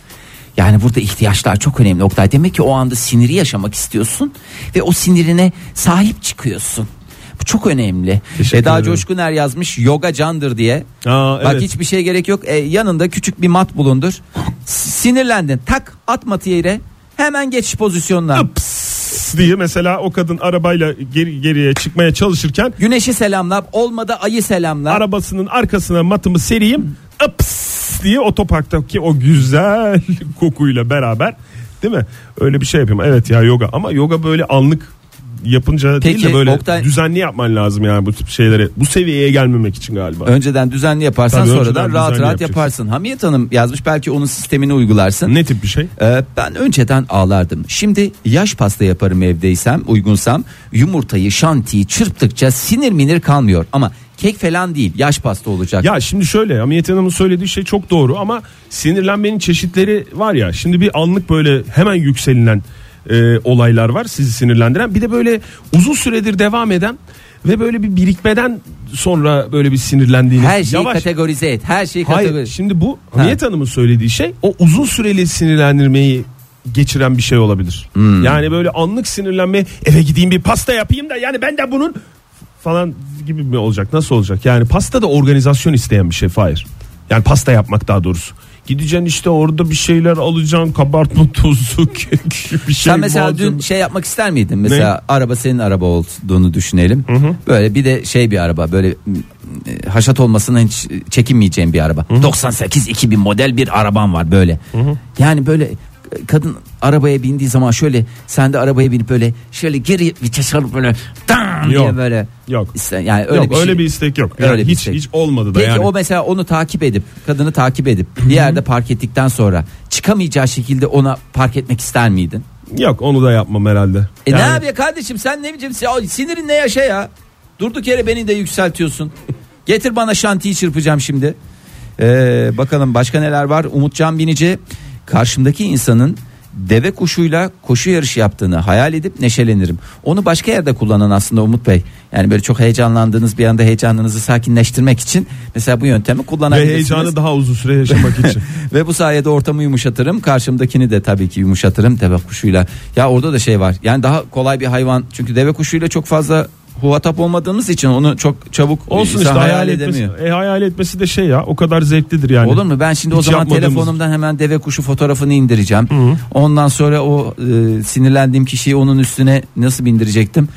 C: Yani burada ihtiyaçlar çok önemli Oktay demek ki o anda siniri yaşamak istiyorsun ve o sinirine sahip çıkıyorsun. Bu çok önemli.
B: Teşekkür
C: Eda
B: ederim.
C: Coşkuner yazmış yoga candır diye.
B: Aa,
C: Bak
B: evet.
C: hiçbir şey gerek yok. E, yanında küçük bir mat bulundur. Sinirlendin. Tak at matı yere. Hemen geç pozisyonuna.
B: Pıs diye mesela o kadın arabayla geri, geriye çıkmaya çalışırken
C: Güneşi selamla. Olmadı ayı selamla.
B: arabasının arkasına matımı sereyim ıps diye otoparktaki o güzel [laughs] kokuyla beraber değil mi? Öyle bir şey yapayım. Evet ya yoga ama yoga böyle anlık yapınca değil de
C: Peki,
B: böyle
C: Oktay-
B: düzenli yapman lazım yani bu tip şeyleri. Bu seviyeye gelmemek için galiba.
C: Önceden düzenli yaparsan
B: Tabii önceden
C: sonradan rahat
B: düzenli
C: rahat
B: yapacaksın.
C: yaparsın. Hamiyet Hanım yazmış belki onun sistemini uygularsın.
B: Ne tip bir şey?
C: Ee, ben önceden ağlardım. Şimdi yaş pasta yaparım evdeysem uygunsam yumurtayı şantiyi çırptıkça sinir minir kalmıyor. Ama kek falan değil yaş pasta olacak.
B: Ya şimdi şöyle Amiyet Hanım'ın söylediği şey çok doğru ama sinirlenmenin çeşitleri var ya şimdi bir anlık böyle hemen yükselinen e, olaylar var sizi sinirlendiren bir de böyle uzun süredir devam eden ve böyle bir birikmeden sonra böyle bir sinirlendiğiniz
C: her şeyi
B: yavaş
C: kategorize et. Her şeyi
B: Hayır
C: kategorize.
B: şimdi bu Hamiyet Hanım'ın söylediği şey o uzun süreli sinirlendirmeyi geçiren bir şey olabilir.
C: Hmm.
B: Yani böyle anlık sinirlenme eve gideyim bir pasta yapayım da yani ben de bunun falan gibi mi olacak nasıl olacak? Yani pasta da organizasyon isteyen bir şey Fahir. Yani pasta yapmak daha doğrusu. Gideceksin işte orada bir şeyler alacaksın kabartma tozu [laughs] kek bir şey.
C: Sen mesela
B: malzeme.
C: dün şey yapmak ister miydin? Mesela araba senin araba olduğunu düşünelim. Böyle bir de şey bir araba böyle e, haşat olmasından hiç çekinmeyeceğim bir araba. 98 2000 model bir araban var böyle. Yani böyle e, kadın arabaya bindiği zaman şöyle sen de arabaya binip böyle şöyle geri vites alıp böyle dan diye
B: Yok.
C: böyle
B: Yok.
C: İşte yani öyle
B: yok,
C: bir şey.
B: öyle bir istek yok. Yani
C: Öyle bir
B: hiç
C: istek.
B: hiç olmadı da
C: Peki
B: yani.
C: o mesela onu takip edip kadını takip edip bir yerde park ettikten sonra çıkamayacağı şekilde ona park etmek ister miydin?
B: Yok onu da yapmam herhalde.
C: E ne
B: Yani
C: yapıyor kardeşim sen ne biçim ya sinirin ne yaşa ya. Durduk yere beni de yükseltiyorsun. Getir bana şantiyi çırpacağım şimdi. Ee, bakalım başka neler var? Umutcan Binici karşımdaki insanın deve kuşuyla koşu yarışı yaptığını hayal edip neşelenirim. Onu başka yerde kullanan aslında Umut Bey. Yani böyle çok heyecanlandığınız bir anda heyecanınızı sakinleştirmek için mesela bu yöntemi
B: Ve
C: kullanabilirsiniz.
B: heyecanı daha uzun süre yaşamak
C: [laughs]
B: için.
C: Ve bu sayede ortamı yumuşatırım. Karşımdakini de tabii ki yumuşatırım deve kuşuyla. Ya orada da şey var. Yani daha kolay bir hayvan. Çünkü deve kuşuyla çok fazla huvatap olmadığımız için onu çok çabuk insan
B: Olsun işte hayal,
C: hayal
B: etmesi.
C: edemiyor.
B: E, hayal etmesi de şey ya o kadar zevklidir yani.
C: Olur mu? Ben şimdi o
B: Hiç
C: zaman
B: yapmadığımız-
C: telefonumdan hemen deve kuşu fotoğrafını indireceğim. Ondan sonra o e, sinirlendiğim kişiyi onun üstüne nasıl bindirecektim?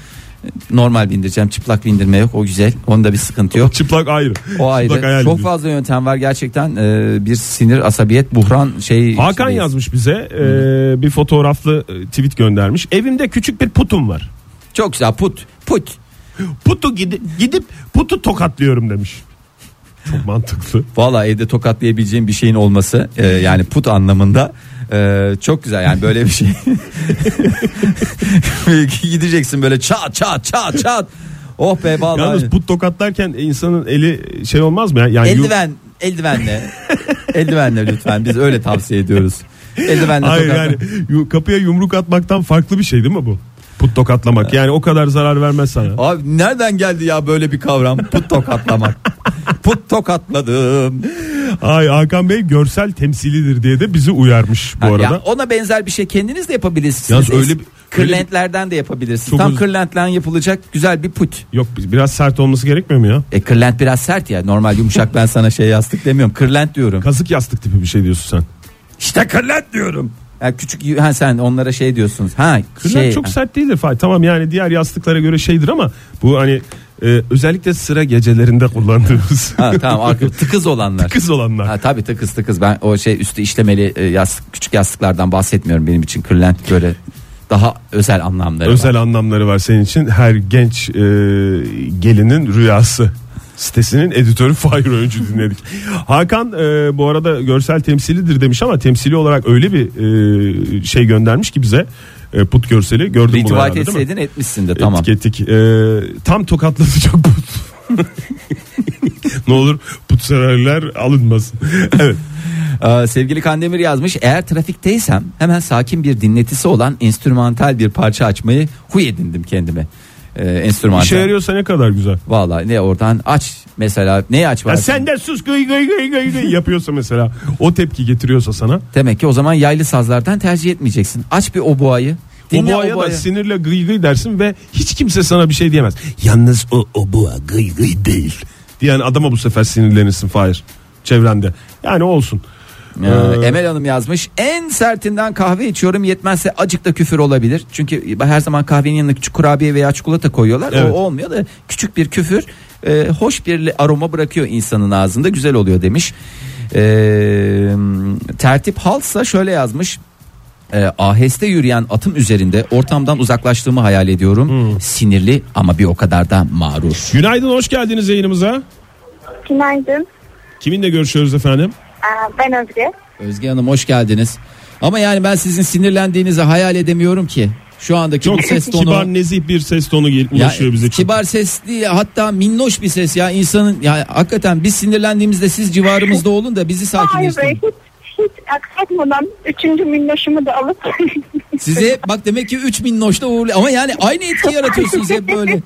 C: Normal bindireceğim. Çıplak bindirme yok. O güzel. Onda bir sıkıntı yok.
B: Çıplak ayrı.
C: O
B: Çıplak hayal
C: ayrı. Çok
B: ediyorsun.
C: fazla yöntem var gerçekten. e, bir sinir, asabiyet, buhran şey.
B: Hakan
C: içindeyiz.
B: yazmış bize e, bir fotoğraflı e, tweet göndermiş. Evimde küçük bir putum var.
C: Çok güzel put put.
B: Putu gidip, gidip putu tokatlıyorum demiş. Çok mantıklı.
C: Valla evde tokatlayabileceğim bir şeyin olması e, yani put anlamında e, çok güzel yani böyle bir
B: [laughs]
C: şey. Gideceksin böyle çat çat çat çat. Oh be
B: Yalnız
C: vallahi.
B: put tokatlarken insanın eli şey olmaz mı ya? Yani yu-
C: Eldiven eldivenle. eldivenle lütfen biz öyle tavsiye ediyoruz. Eldivenle
B: Hayır
C: tokatla.
B: yani yu- kapıya yumruk atmaktan farklı bir şey değil mi bu? Put tokatlamak yani o kadar zarar vermez sana.
C: Abi nereden geldi ya böyle bir kavram put tokatlamak. put tokatladım.
B: Ay Hakan Bey görsel temsilidir diye de bizi uyarmış bu
C: Ha,
B: arada.
C: ya ona benzer bir şey kendiniz de yapabilirsiniz.
B: Yalnız öyle bir-
C: Es-
B: öyle bir-
C: kırlentlerden de yapabilirsiniz.
B: Çok
C: Tam
B: uz-
C: kırlentle yapılacak güzel bir put.
B: Yok biz- biraz sert olması gerekmiyor mu ya?
C: E kırlent biraz sert ya. Normal yumuşak ben sana şey yastık demiyorum. Kırlent diyorum.
B: Kazık yastık tipi bir şey diyorsun sen.
C: İşte kırlent diyorum. Ya küçük ha sen onlara şey diyorsunuz. Ha
B: Kırlent
C: şey.
B: çok sert değildir Fahir. Tamam yani diğer yastıklara göre şeydir ama bu hani e, özellikle sıra gecelerinde kullandığımız
C: Ha tamam arka tıkız olanlar.
B: [laughs] kız olanlar.
C: Ha tabii tıkız tıkız. Ben o şey üstü işlemeli e, yastık küçük yastıklardan bahsetmiyorum benim için. Kırlent böyle daha özel anlamları var.
B: Özel anlamları var senin için. Her genç e, gelinin rüyası sitesinin editörü Fahir Öğüncü dinledik. Hakan e, bu arada görsel temsilidir demiş ama temsili olarak öyle bir e, şey göndermiş ki bize e, put görseli. Gördün bunu
C: Ritual
B: herhalde değil mi?
C: etseydin etmişsin de tamam.
B: Ettik ettik. E, tam tokatladı çok put. [laughs] ne olur put zararlar alınmasın. [laughs] evet.
C: Ee, sevgili Kandemir yazmış eğer trafikteysem hemen sakin bir dinletisi olan enstrümantal bir parça açmayı huy edindim kendime. Ee, enstrümantal.
B: İşe yarıyorsa ne kadar güzel.
C: Vallahi ne oradan aç mesela neyi aç
B: Ya
C: var?
B: sen de sus gıy gıy gıy gıy gıy yapıyorsa mesela o tepki getiriyorsa sana
C: Demek ki o zaman yaylı sazlardan tercih etmeyeceksin. Aç bir oboayı.
B: O
C: Dinle
B: boğaya da
C: oboayı.
B: sinirle gıy gıy dersin ve hiç kimse sana bir şey diyemez. Yalnız o o boğa gıy gıy değil. Diyen adama bu sefer sinirlenirsin Fahir. Çevrende. Yani olsun.
C: Ee,
B: Ee,
C: Emel Hanım yazmış en sertinden kahve içiyorum yetmezse acık da küfür olabilir. Çünkü her zaman kahvenin yanına küçük kurabiye veya çikolata koyuyorlar
B: Evet.
C: o olmuyor da küçük bir küfür e, hoş bir aroma bırakıyor insanın ağzında güzel oluyor demiş. Ee, tertip Halsa şöyle yazmış. E, aheste yürüyen atım üzerinde ortamdan uzaklaştığımı hayal ediyorum. Sinirli ama bir o kadar da mağrur.
B: Günaydın hoş geldiniz yayınımıza.
D: Günaydın.
B: Kiminle görüşüyoruz efendim?
D: Aa, Ben Özge.
C: Özge Hanım hoş geldiniz. Ama yani ben sizin sinirlendiğinizi hayal edemiyorum ki. Şu andaki
B: Çok
C: bu ses tonu.
B: kibar nezih bir ses tonu gel-
C: Ya,
B: ulaşıyor bize. Çok-
C: kibar ses değil hatta minnoş bir ses ya insanın ya hakikaten biz sinirlendiğimizde siz civarımızda olun da bizi
D: Hayır Bey
C: sakinleştirin.
D: hiç, hiç aksatmadan üçüncü minnoşumu da alıp [laughs]
C: Size bak demek ki 3 minnoşla uğurlu ama yani aynı etki yaratıyorsunuz hep böyle.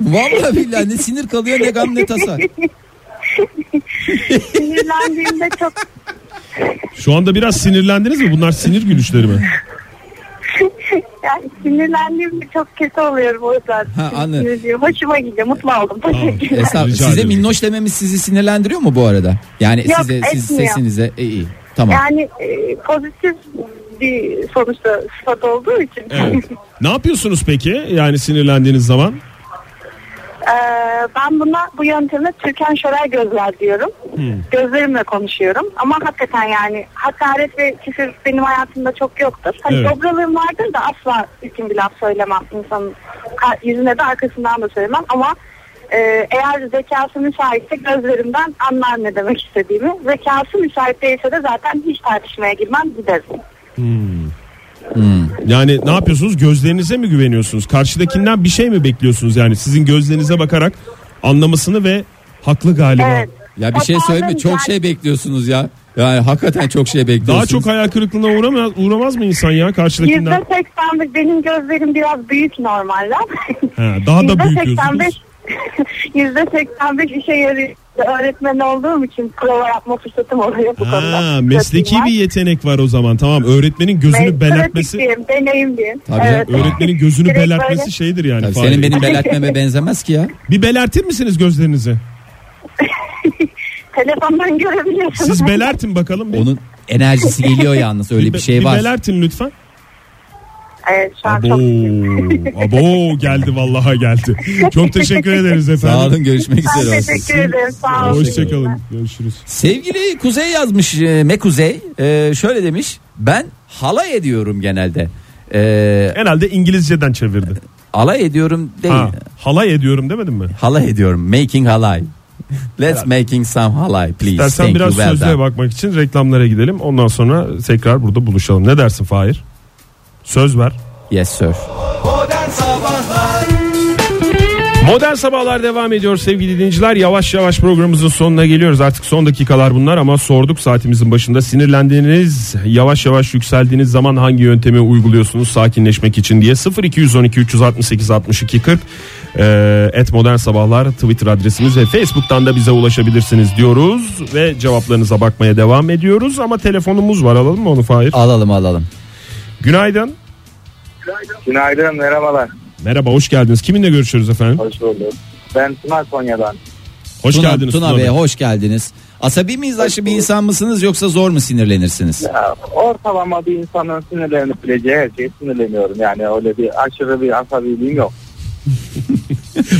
C: Vallahi billahi ne sinir kalıyor ne gam ne tasa.
D: sinirlendiğimde çok
B: Şu anda biraz sinirlendiniz mi? Bunlar sinir gülüşleri mi?
D: yani sinirlendiğimde çok kötü oluyorum o yüzden.
C: Ha, anladım.
D: Üzülüyorum. Hoşuma gidiyor. Mutlu oldum. Teşekkürler.
C: Estağfurullah.
B: Rica
C: Size
B: ederim.
C: minnoş dememiz sizi sinirlendiriyor mu bu arada? Yani
D: Yok,
C: size siz
D: etmiyor.
C: sesinize e, iyi. Tamam.
D: [laughs] Yani e, pozitif bir sonuçta sıfat olduğu için.
B: Evet. ne yapıyorsunuz peki? Yani sinirlendiğiniz zaman?
D: Ee, ben buna bu yönteme Türkan Şoray gözler diyorum. Gözlerimle konuşuyorum. Ama hakikaten yani hakaret ve küfür benim hayatımda çok yoktur. Hani
B: Evet.
D: dobralığım vardır da asla üstün bir laf söylemem. İnsanın ka- yüzüne de arkasından da söylemem. Ama e, eğer zekası müsaitse gözlerimden anlar ne demek istediğimi. Zekası müsait değilse de zaten hiç tartışmaya girmem giderim.
B: Yani ne yapıyorsunuz? Gözlerinize mi güveniyorsunuz? Karşıdakinden bir şey mi bekliyorsunuz? Yani sizin gözlerinize bakarak anlamasını ve haklı galiba.
D: Evet.
E: Ya bir şey söyleyeyim mi? Çok şey bekliyorsunuz ya. Yani hakikaten çok şey bekliyorsunuz.
B: Daha çok hayal kırıklığına uğramaz, uğramaz mı insan ya karşıdakinden?
D: Yüzde benim gözlerim biraz büyük normalden.
E: [laughs]
B: Ha, daha da büyük gözüküyorsunuz.
D: [laughs] Yüzde seksen beş işe yarıyor. Öğretmen olduğum için prova yapma fırsatım oluyor bu konuda.
B: Ha, mesleki bir yetenek var o zaman. Tamam. Öğretmenin gözünü belertmesi
D: belertmesi. Diyeyim, deneyim diyeyim.
E: Tabii canım,
B: öğretmenin gözünü
D: Direkt böyle-
B: belertmesi şeydir yani.
E: Tabii
B: Fahri.
E: senin
B: [laughs]
E: benim belertmeme benzemez ki ya.
B: Bir belertir misiniz gözlerinizi?
D: Telefondan görebiliyorsunuz.
B: Siz belertin bakalım. Bir,
E: Onun enerjisi geliyor yalnız öyle bir şey var.
B: belertin lütfen.
D: [laughs] Evet şu an
B: Abo,
D: çok
B: [laughs] abo geldi vallaha geldi. Çok teşekkür ederiz efendim.
E: Sağ olun görüşmek
D: Ben
E: üzere.
D: teşekkür ederim. Sağ olun.
B: Hoşçakalın. Görüşürüz.
E: Sevgili
C: Kuzey yazmış e, Mekuzey E, şöyle demiş ben halay ediyorum genelde. E,
B: Herhalde İngilizceden çevirdi.
C: alay ediyorum değil.
B: Ha, halay ediyorum demedin mi?
C: Halay ediyorum. Making halay. Let's making some halay please.
B: İstersen
C: Thank
B: biraz
C: you, well
B: sözlüğe
C: done.
B: bakmak için reklamlara gidelim. Ondan sonra tekrar burada buluşalım. Ne dersin Fahir? Söz ver.
C: Yes sir.
B: Modern Sabahlar devam ediyor sevgili dinleyiciler. Yavaş yavaş programımızın sonuna geliyoruz. Artık son dakikalar bunlar ama sorduk saatimizin başında. Sinirlendiğiniz, yavaş yavaş yükseldiğiniz zaman hangi yöntemi uyguluyorsunuz sakinleşmek için diye. 0212 368 62 40 eee, e, et Modern Sabahlar Twitter adresimiz ve Facebook'tan da bize ulaşabilirsiniz diyoruz. Ve cevaplarınıza bakmaya devam ediyoruz. Ama telefonumuz var alalım mı onu Fahir?
C: Alalım alalım.
B: Günaydın.
A: Günaydın merhabalar.
B: Merhaba hoş geldiniz. Kiminle görüşüyoruz efendim?
A: Hoş bulduk. Ben Tuna Konya'dan.
B: Hoş
C: Tuna,
B: geldiniz.
C: Tuna
B: Tuna
C: Bey
B: Bey.
C: hoş geldiniz. Asabi mizaçlı bir insan mısınız yoksa zor mu sinirlenirsiniz?
A: Ya, ortalama bir insanın sinirlenip bileceği her şeye sinirleniyorum. Yani öyle bir aşırı bir asabiliğim yok.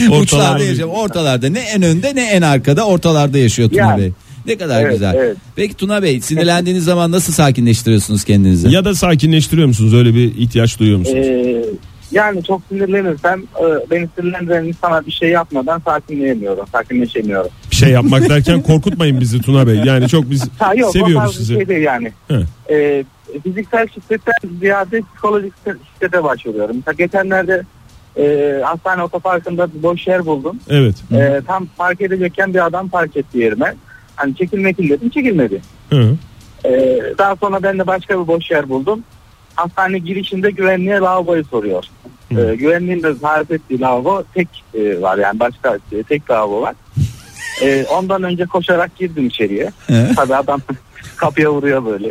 B: Ortalama
C: Uçlarda
B: bir-
C: yaşıyor. Ortalarda ne en önde ne en arkada ortalarda yaşıyor Tuna
A: Yani.
C: Bey. Ne kadar
A: Evet,
C: güzel.
A: evet.
C: Peki Tuna Bey sinirlendiğiniz zaman nasıl sakinleştiriyorsunuz kendinizi?
B: Ya da sakinleştiriyor musunuz? Öyle bir ihtiyaç duyuyor musunuz?
A: Ee, yani çok sinirlenirsem e, beni sinirlendiren insana bir şey yapmadan sakinleyemiyorum. Sakinleşemiyorum.
B: Bir şey
A: [laughs]
B: yapmak derken korkutmayın bizi Tuna Bey. Yani çok biz
A: Ha, yok, o
B: seviyoruz
A: tarz bir
B: sizi.
A: şey değil yani.
B: He.
A: Ee, fiziksel şiddetten ziyade psikolojik şiddete başvuruyorum. Mesela geçenlerde e, hastane otoparkında bir boş yer buldum.
B: Evet.
A: Ee, tam park edecekken bir adam park etti yerime. Hani çekilmekin dedim çekilmedi.
B: Hı.
A: Ee, daha sonra ben de başka bir boş yer buldum. Hastane girişinde güvenliğe lavaboyu soruyor. Ee, güvenliğin de tarif ettiği lavabo tek e, var yani başka e, tek lavabo var. Ee, ondan önce koşarak girdim içeriye. Tabii adam [laughs] kapıya vuruyor böyle.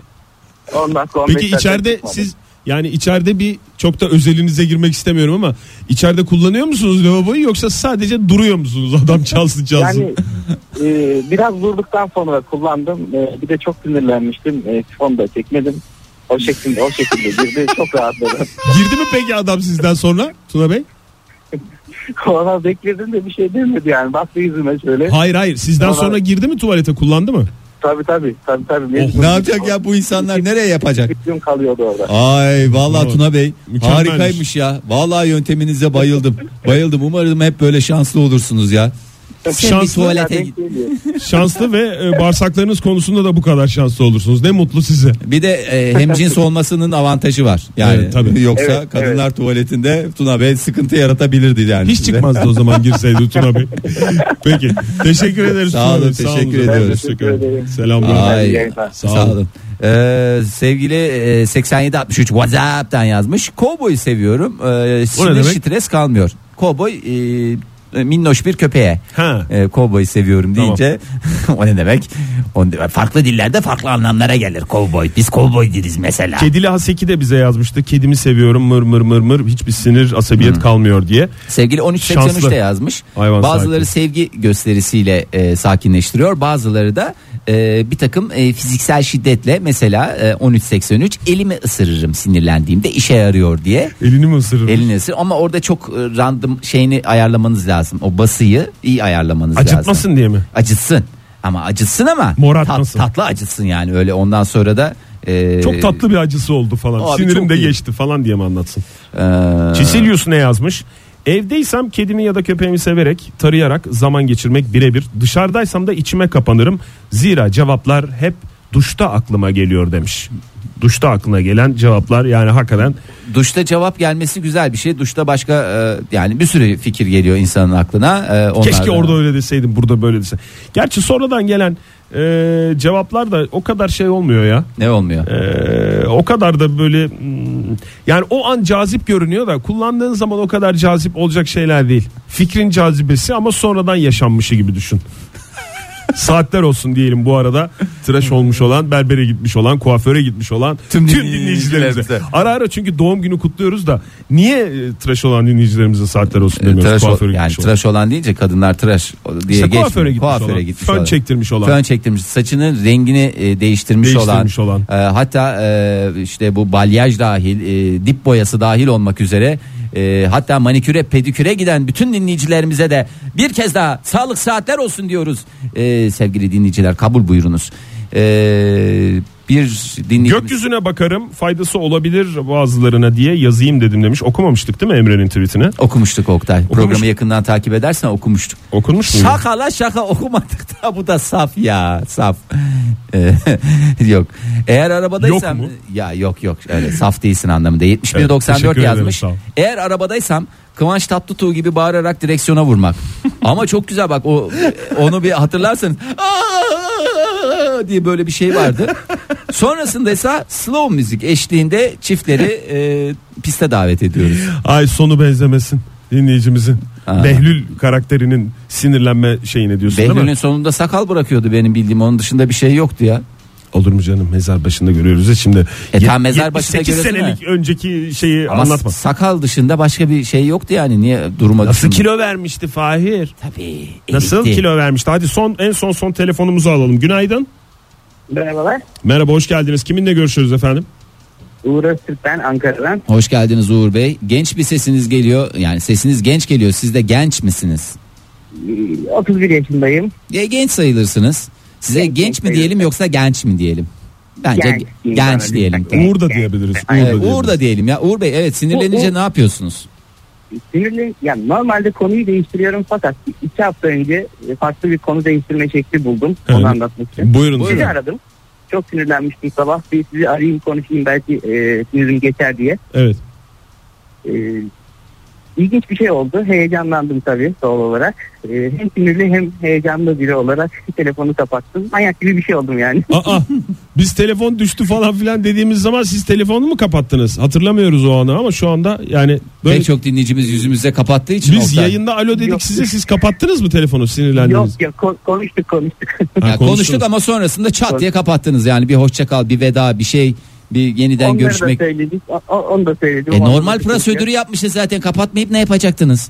A: Ondan sonra
B: Peki içeride siz yani içeride bir çok da özelinize girmek istemiyorum ama içeride kullanıyor musunuz lavaboyu yoksa sadece duruyor musunuz [laughs] adam çalsın çalsın?
A: yani e, biraz vurduktan sonra kullandım. E, bir de çok sinirlenmiştim. E, fonu da çekmedim. O şekilde o şekilde girdi.
B: [laughs]
A: Çok rahatladım.
B: Girdi mi peki adam sizden sonra Tuna Bey?
A: Ona bekledim de bir şey demedi yani. Baktı yüzüme şöyle.
B: Hayır hayır sizden
A: Vallahi-
B: sonra girdi mi tuvalete kullandı mı?
A: Tabii tabii tabii tabii.
B: Oh,
A: Mecbur.
E: ne yapacak ya bu insanlar nereye yapacak?
A: Bir gün kalıyordu orada.
E: Ay vallahi
B: Bravo.
E: Tuna Bey
B: Mükemmelmiş.
E: harikaymış ya. Vallahi yönteminize bayıldım. Bayıldım. Umarım hep böyle şanslı olursunuz ya.
C: Sen bir
B: Şanslı-
C: tuvalete git.
B: Şanslı ve e, bağırsaklarınız konusunda da bu kadar şanslı olursunuz. Ne mutlu size.
C: Bir de e, hemcins olmasının avantajı var. Yani
B: Evet, tabii.
E: Yoksa
A: Evet,
E: kadınlar tuvaletinde Tuna Bey sıkıntı yaratabilirdi yani.
B: Hiç
E: size.
B: çıkmazdı o zaman girseydi Tuna Bey. Peki. Teşekkür ederiz.
E: Sağ
B: Tuna
E: olun,
B: Bey.
E: teşekkür
B: efendim.
E: ediyoruz.
B: Hoşçakalın.
A: Teşekkür ederim.
B: Selamlar.
C: Ay,
A: yayınlar.
C: sağ olun. Ee, sevgili e, 8763 WhatsApp'tan yazmış. Cowboy seviyorum. Ee, sinir
B: demek?
C: stres kalmıyor. Cowboy e, minnoş bir köpeğe.
B: Ha.
C: Ee, cowboy seviyorum
B: Tamam.
C: deyince [laughs] o ne demek? O ne- farklı dillerde farklı anlamlara gelir cowboy. Biz cowboy deriz mesela.
B: Kedili Haseki de bize yazmıştı. Kedimi seviyorum mır mır mır mır. Hiçbir sinir asabiyet kalmıyor diye.
C: Sevgili
B: Şanslı.
C: 1383'te yazmış.
B: Hayvan
C: bazıları sevgi gösterisiyle e, sakinleştiriyor. Bazıları da e, bir takım e, fiziksel şiddetle mesela e, 1383 elimi ısırırım sinirlendiğimde işe yarıyor diye.
B: Elini mi ısırır?
C: Elini ısır ama orada çok e, random şeyini ayarlamanız lazım. O basıyı iyi ayarlamanız lazım.
B: Acıtmasın diye mi?
C: Acıtsın. Ama acıtsın ama
B: Morartmasın.
C: tatlı acıtsın yani öyle ondan sonra da e,
B: Çok tatlı bir acısı oldu falan.
C: Abi
B: Sinirim
C: çok
B: de
C: iyi.
B: geçti falan diye mi anlatsın?
C: e,
B: Çisilius ne yazmış? Evdeysem kedimi ya da köpeğimi severek, tarayarak zaman geçirmek birebir. Dışarıdaysam da içime kapanırım. Zira cevaplar hep Duşta aklıma geliyor demiş. Duşta aklına gelen cevaplar yani hakikaten
C: Duşta cevap gelmesi güzel bir şey. Duşta başka e, yani bir sürü fikir geliyor insanın aklına. E,
B: Keşke
C: onlardan-
B: orada öyle deseydim burada böyle dese. Gerçi sonradan gelen e, cevaplar da o kadar şey olmuyor ya.
C: ne olmuyor.
B: E, o kadar da böyle hmm, yani o an cazip görünüyor da kullandığın zaman o kadar cazip olacak şeyler değil. Fikrin cazibesi ama sonradan yaşanmışı
C: [laughs]
B: gibi düşün. Saatler olsun diyelim bu arada tıraş olmuş olan, berbere gitmiş olan, kuaföre gitmiş olan tüm,
C: Tüm
B: dinleyicilerimize.
C: dinleyicilerimize.
B: Ara ara çünkü doğum günü kutluyoruz da niye e, tıraş olan dinleyicilerimize saatler olsun
C: E,
B: demiyoruz?
C: tıraş ol-
B: kuaföre
C: yani
B: gitmiş olan.
C: tıraş olan deyince kadınlar tıraş o- diye
B: İşte
C: geçmiyor.
B: kuaföre gitmiş
C: Kuaföre
B: olan,
C: gitmiş
B: fön
C: olan.
B: çektirmiş olan.
C: Fön çektirmiş. Saçının rengini e, değiştirmiş,
B: Değiştirmiş olan.
C: E, hatta e, işte bu balyaj dahil, e, dip boyası dahil olmak üzere e, hatta maniküre, pediküre giden bütün dinleyicilerimize de bir kez daha sağlık saatler olsun diyoruz. E, sevgili dinleyiciler kabul buyurunuz. E, bir dinleyicimiz
B: Gökyüzüne bakarım faydası olabilir bazılarına diye yazayım dedim demiş. Okumamıştık değil mi Emre'nin tweetini?
C: okumuştuk Oktay. Programı yakından takip edersen okumuştuk.
B: Okunmuş muydu?
C: Şaka la şaka okumadık da bu da saf ya saf. Ee, [laughs] yok. Eğer arabadaysam
B: Yok mu?
C: ya yok yok öyle saf değilsin anlamında. 71
B: Evet,
C: 94
B: teşekkür ederim,
C: yazmış.
B: sağ ol.
C: Eğer arabadaysam Kıvanç Tatlıtuğ gibi bağırarak direksiyona
B: [laughs]
C: vurmak. Ama çok güzel bak o onu bir hatırlarsanız "Aa!" [laughs] diye böyle bir şey vardı. Sonrasında ise slow müzik eşliğinde çiftleri e, piste davet ediyoruz.
B: Ay sonu benzemesin dinleyicimizin.
C: Aa.
B: Behlül karakterinin sinirlenme şeyine diyorsun değil
C: Behlül'ün
B: mi?
C: sonunda sakal bırakıyordu benim bildiğim onun dışında bir şey yoktu ya.
B: Olur mu canım mezar başında görüyoruz ya şimdi.
C: E
B: Yet-
C: tam mezar başında
B: 78
C: görüyorsun
B: senelik önceki şeyi
C: Ama
B: anlatma.
C: s- sakal dışında başka bir şey yoktu yani niye duruma
B: Nasıl
C: düşündün?
B: kilo vermişti Fahir?
C: Tabii.
B: Nasıl
C: erikti.
B: kilo vermişti? Hadi son en son son telefonumuzu alalım. Günaydın.
F: Merhabalar.
B: Merhaba hoş geldiniz. Kiminle görüşüyoruz efendim?
F: Uğur Öztürk ben Ankara'dan.
C: Hoş geldiniz Uğur Bey. Genç bir sesiniz geliyor. Yani sesiniz genç geliyor. Siz de genç misiniz?
F: Ee, 31 yaşındayım.
C: Ya genç sayılırsınız. Size
F: Genç,
C: genç mi
F: genç
C: diyelim yoksa genç mi diyelim? Bence
F: Genç
C: genç,
F: insana lütfen.
C: diyelim.
F: Evet,
B: Uğur da
F: evet.
B: diyebiliriz. Uğur da
F: Aynen.
C: Evet, Uğur
B: diyebiliriz.
C: da diyelim ya. Uğur Bey evet sinirlenince
F: Uğur-
C: ne yapıyorsunuz?
F: Sinirli, yani normalde konuyu değiştiriyorum fakat iki hafta önce farklı bir konu değiştirme şekli buldum.
B: Hı.
F: Onu anlatmak için.
B: Buyurun.
F: Sizi
B: Buyurun.
F: aradım. Çok sinirlenmiştim sabah. Bir sizi arayayım konuşayım belki e, sinirim geçer diye.
B: Evet.
F: E, ilginç bir şey oldu. Heyecanlandım tabii doğal olarak. E, hem sinirli hem heyecanlı biri olarak [laughs] telefonu kapattım. Manyak gibi bir şey oldum yani.
B: Aa biz telefon düştü falan filan dediğimiz zaman siz telefonu mu kapattınız? Hatırlamıyoruz o anı ama şu anda yani böyle
C: Pek çok dinleyicimiz yüzümüze kapattığı için
B: biz
C: Oktay.
B: yayında alo dedik
F: Yok.
B: size siz kapattınız mı telefonu
F: Yok
B: sinirlendiniz?
F: yok ko- konuştuk konuştuk.
B: Ha,
C: Ya
B: konuştunuz.
C: konuştuk ama sonrasında çat diye kapattınız yani bir hoşça kal, bir veda, bir şey, bir yeniden
F: Onları
C: görüşmek.
F: da söyledik. o- o- onu da söyledim.
C: E
F: Onları
C: normal
F: da söyledim.
C: prosedürü yapmışız zaten kapatmayıp ne yapacaktınız?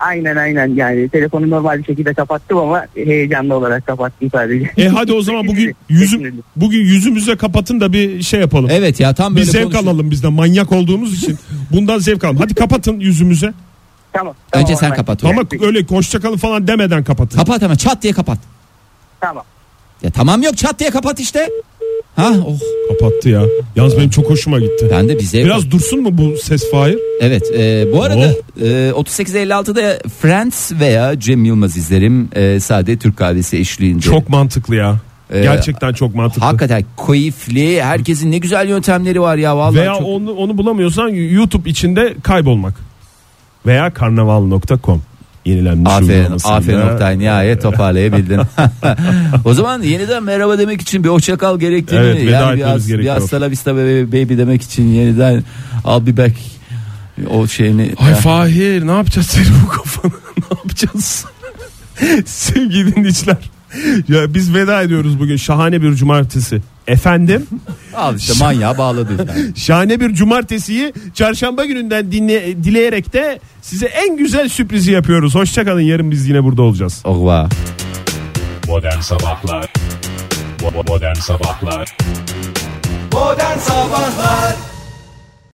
F: Aynen aynen yani telefonu normal bir şekilde kapattım ama heyecanlı olarak kapattım sadece.
B: E hadi o
F: [laughs]
B: zaman bugün yüzüm bugün yüzümüze kapatın da bir şey yapalım.
C: Evet ya tam
B: bir
C: böyle
B: zevk
C: konuşun.
B: alalım bizden manyak olduğumuz için. Bundan zevk alalım. Hadi kapatın yüzümüze.
F: Tamam. tamam,
C: Önce sen
F: hemen.
C: kapat.
B: Ama öyle hoşçakalın falan demeden kapatın.
C: Kapat ama çat diye kapat.
F: Tamam.
C: Ya tamam yok çat diye kapat işte. Ha oh.
B: Kapattı ya. Yalnız benim çok hoşuma gitti.
C: Ben de bir zevk
B: Biraz Oh. dursun mu bu ses Fahir?
C: Evet e, bu arada e, 38.56'da Friends veya Cem Yılmaz izlerim e, sade Türk kahvesi eşliğinde.
B: Çok mantıklı ya.
C: Ee,
B: Gerçekten çok mantıklı.
C: Hakikaten keyifli herkesin ne güzel yöntemleri var ya vallahi
B: Veya
C: çok-
B: onu onu bulamıyorsan YouTube içinde kaybolmak. Veya karnaval.com yenilenmiş
C: Aferin,
B: uygulamasında.
C: aferin Oktay nihayet toparlayabildin. [laughs] o zaman yeniden merhaba demek için bir hoşça kal gerektiğini
B: Evet, veda
C: yani
B: etmemiz
C: biraz,
B: gerekiyor.
C: biraz hasta la vista baby, baby demek için yeniden I'll be back o şeyini.
B: Ay Fahir ne yapacağız senin bu kafanı [laughs] ne yapacağız? [laughs] Sevgili dinleyiciler. Ya biz veda ediyoruz bugün şahane bir cumartesi. Efendim
C: Al işte manyağa
B: [laughs]
C: bağladı. yani.
B: şahane bir cumartesiyi çarşamba gününden dinle, dileyerek de size en güzel sürprizi yapıyoruz. Hoşçakalın yarın biz yine burada olacağız.
C: Oha.
G: Modern Sabahlar Bo- bo- Modern Sabahlar
H: Modern Sabahlar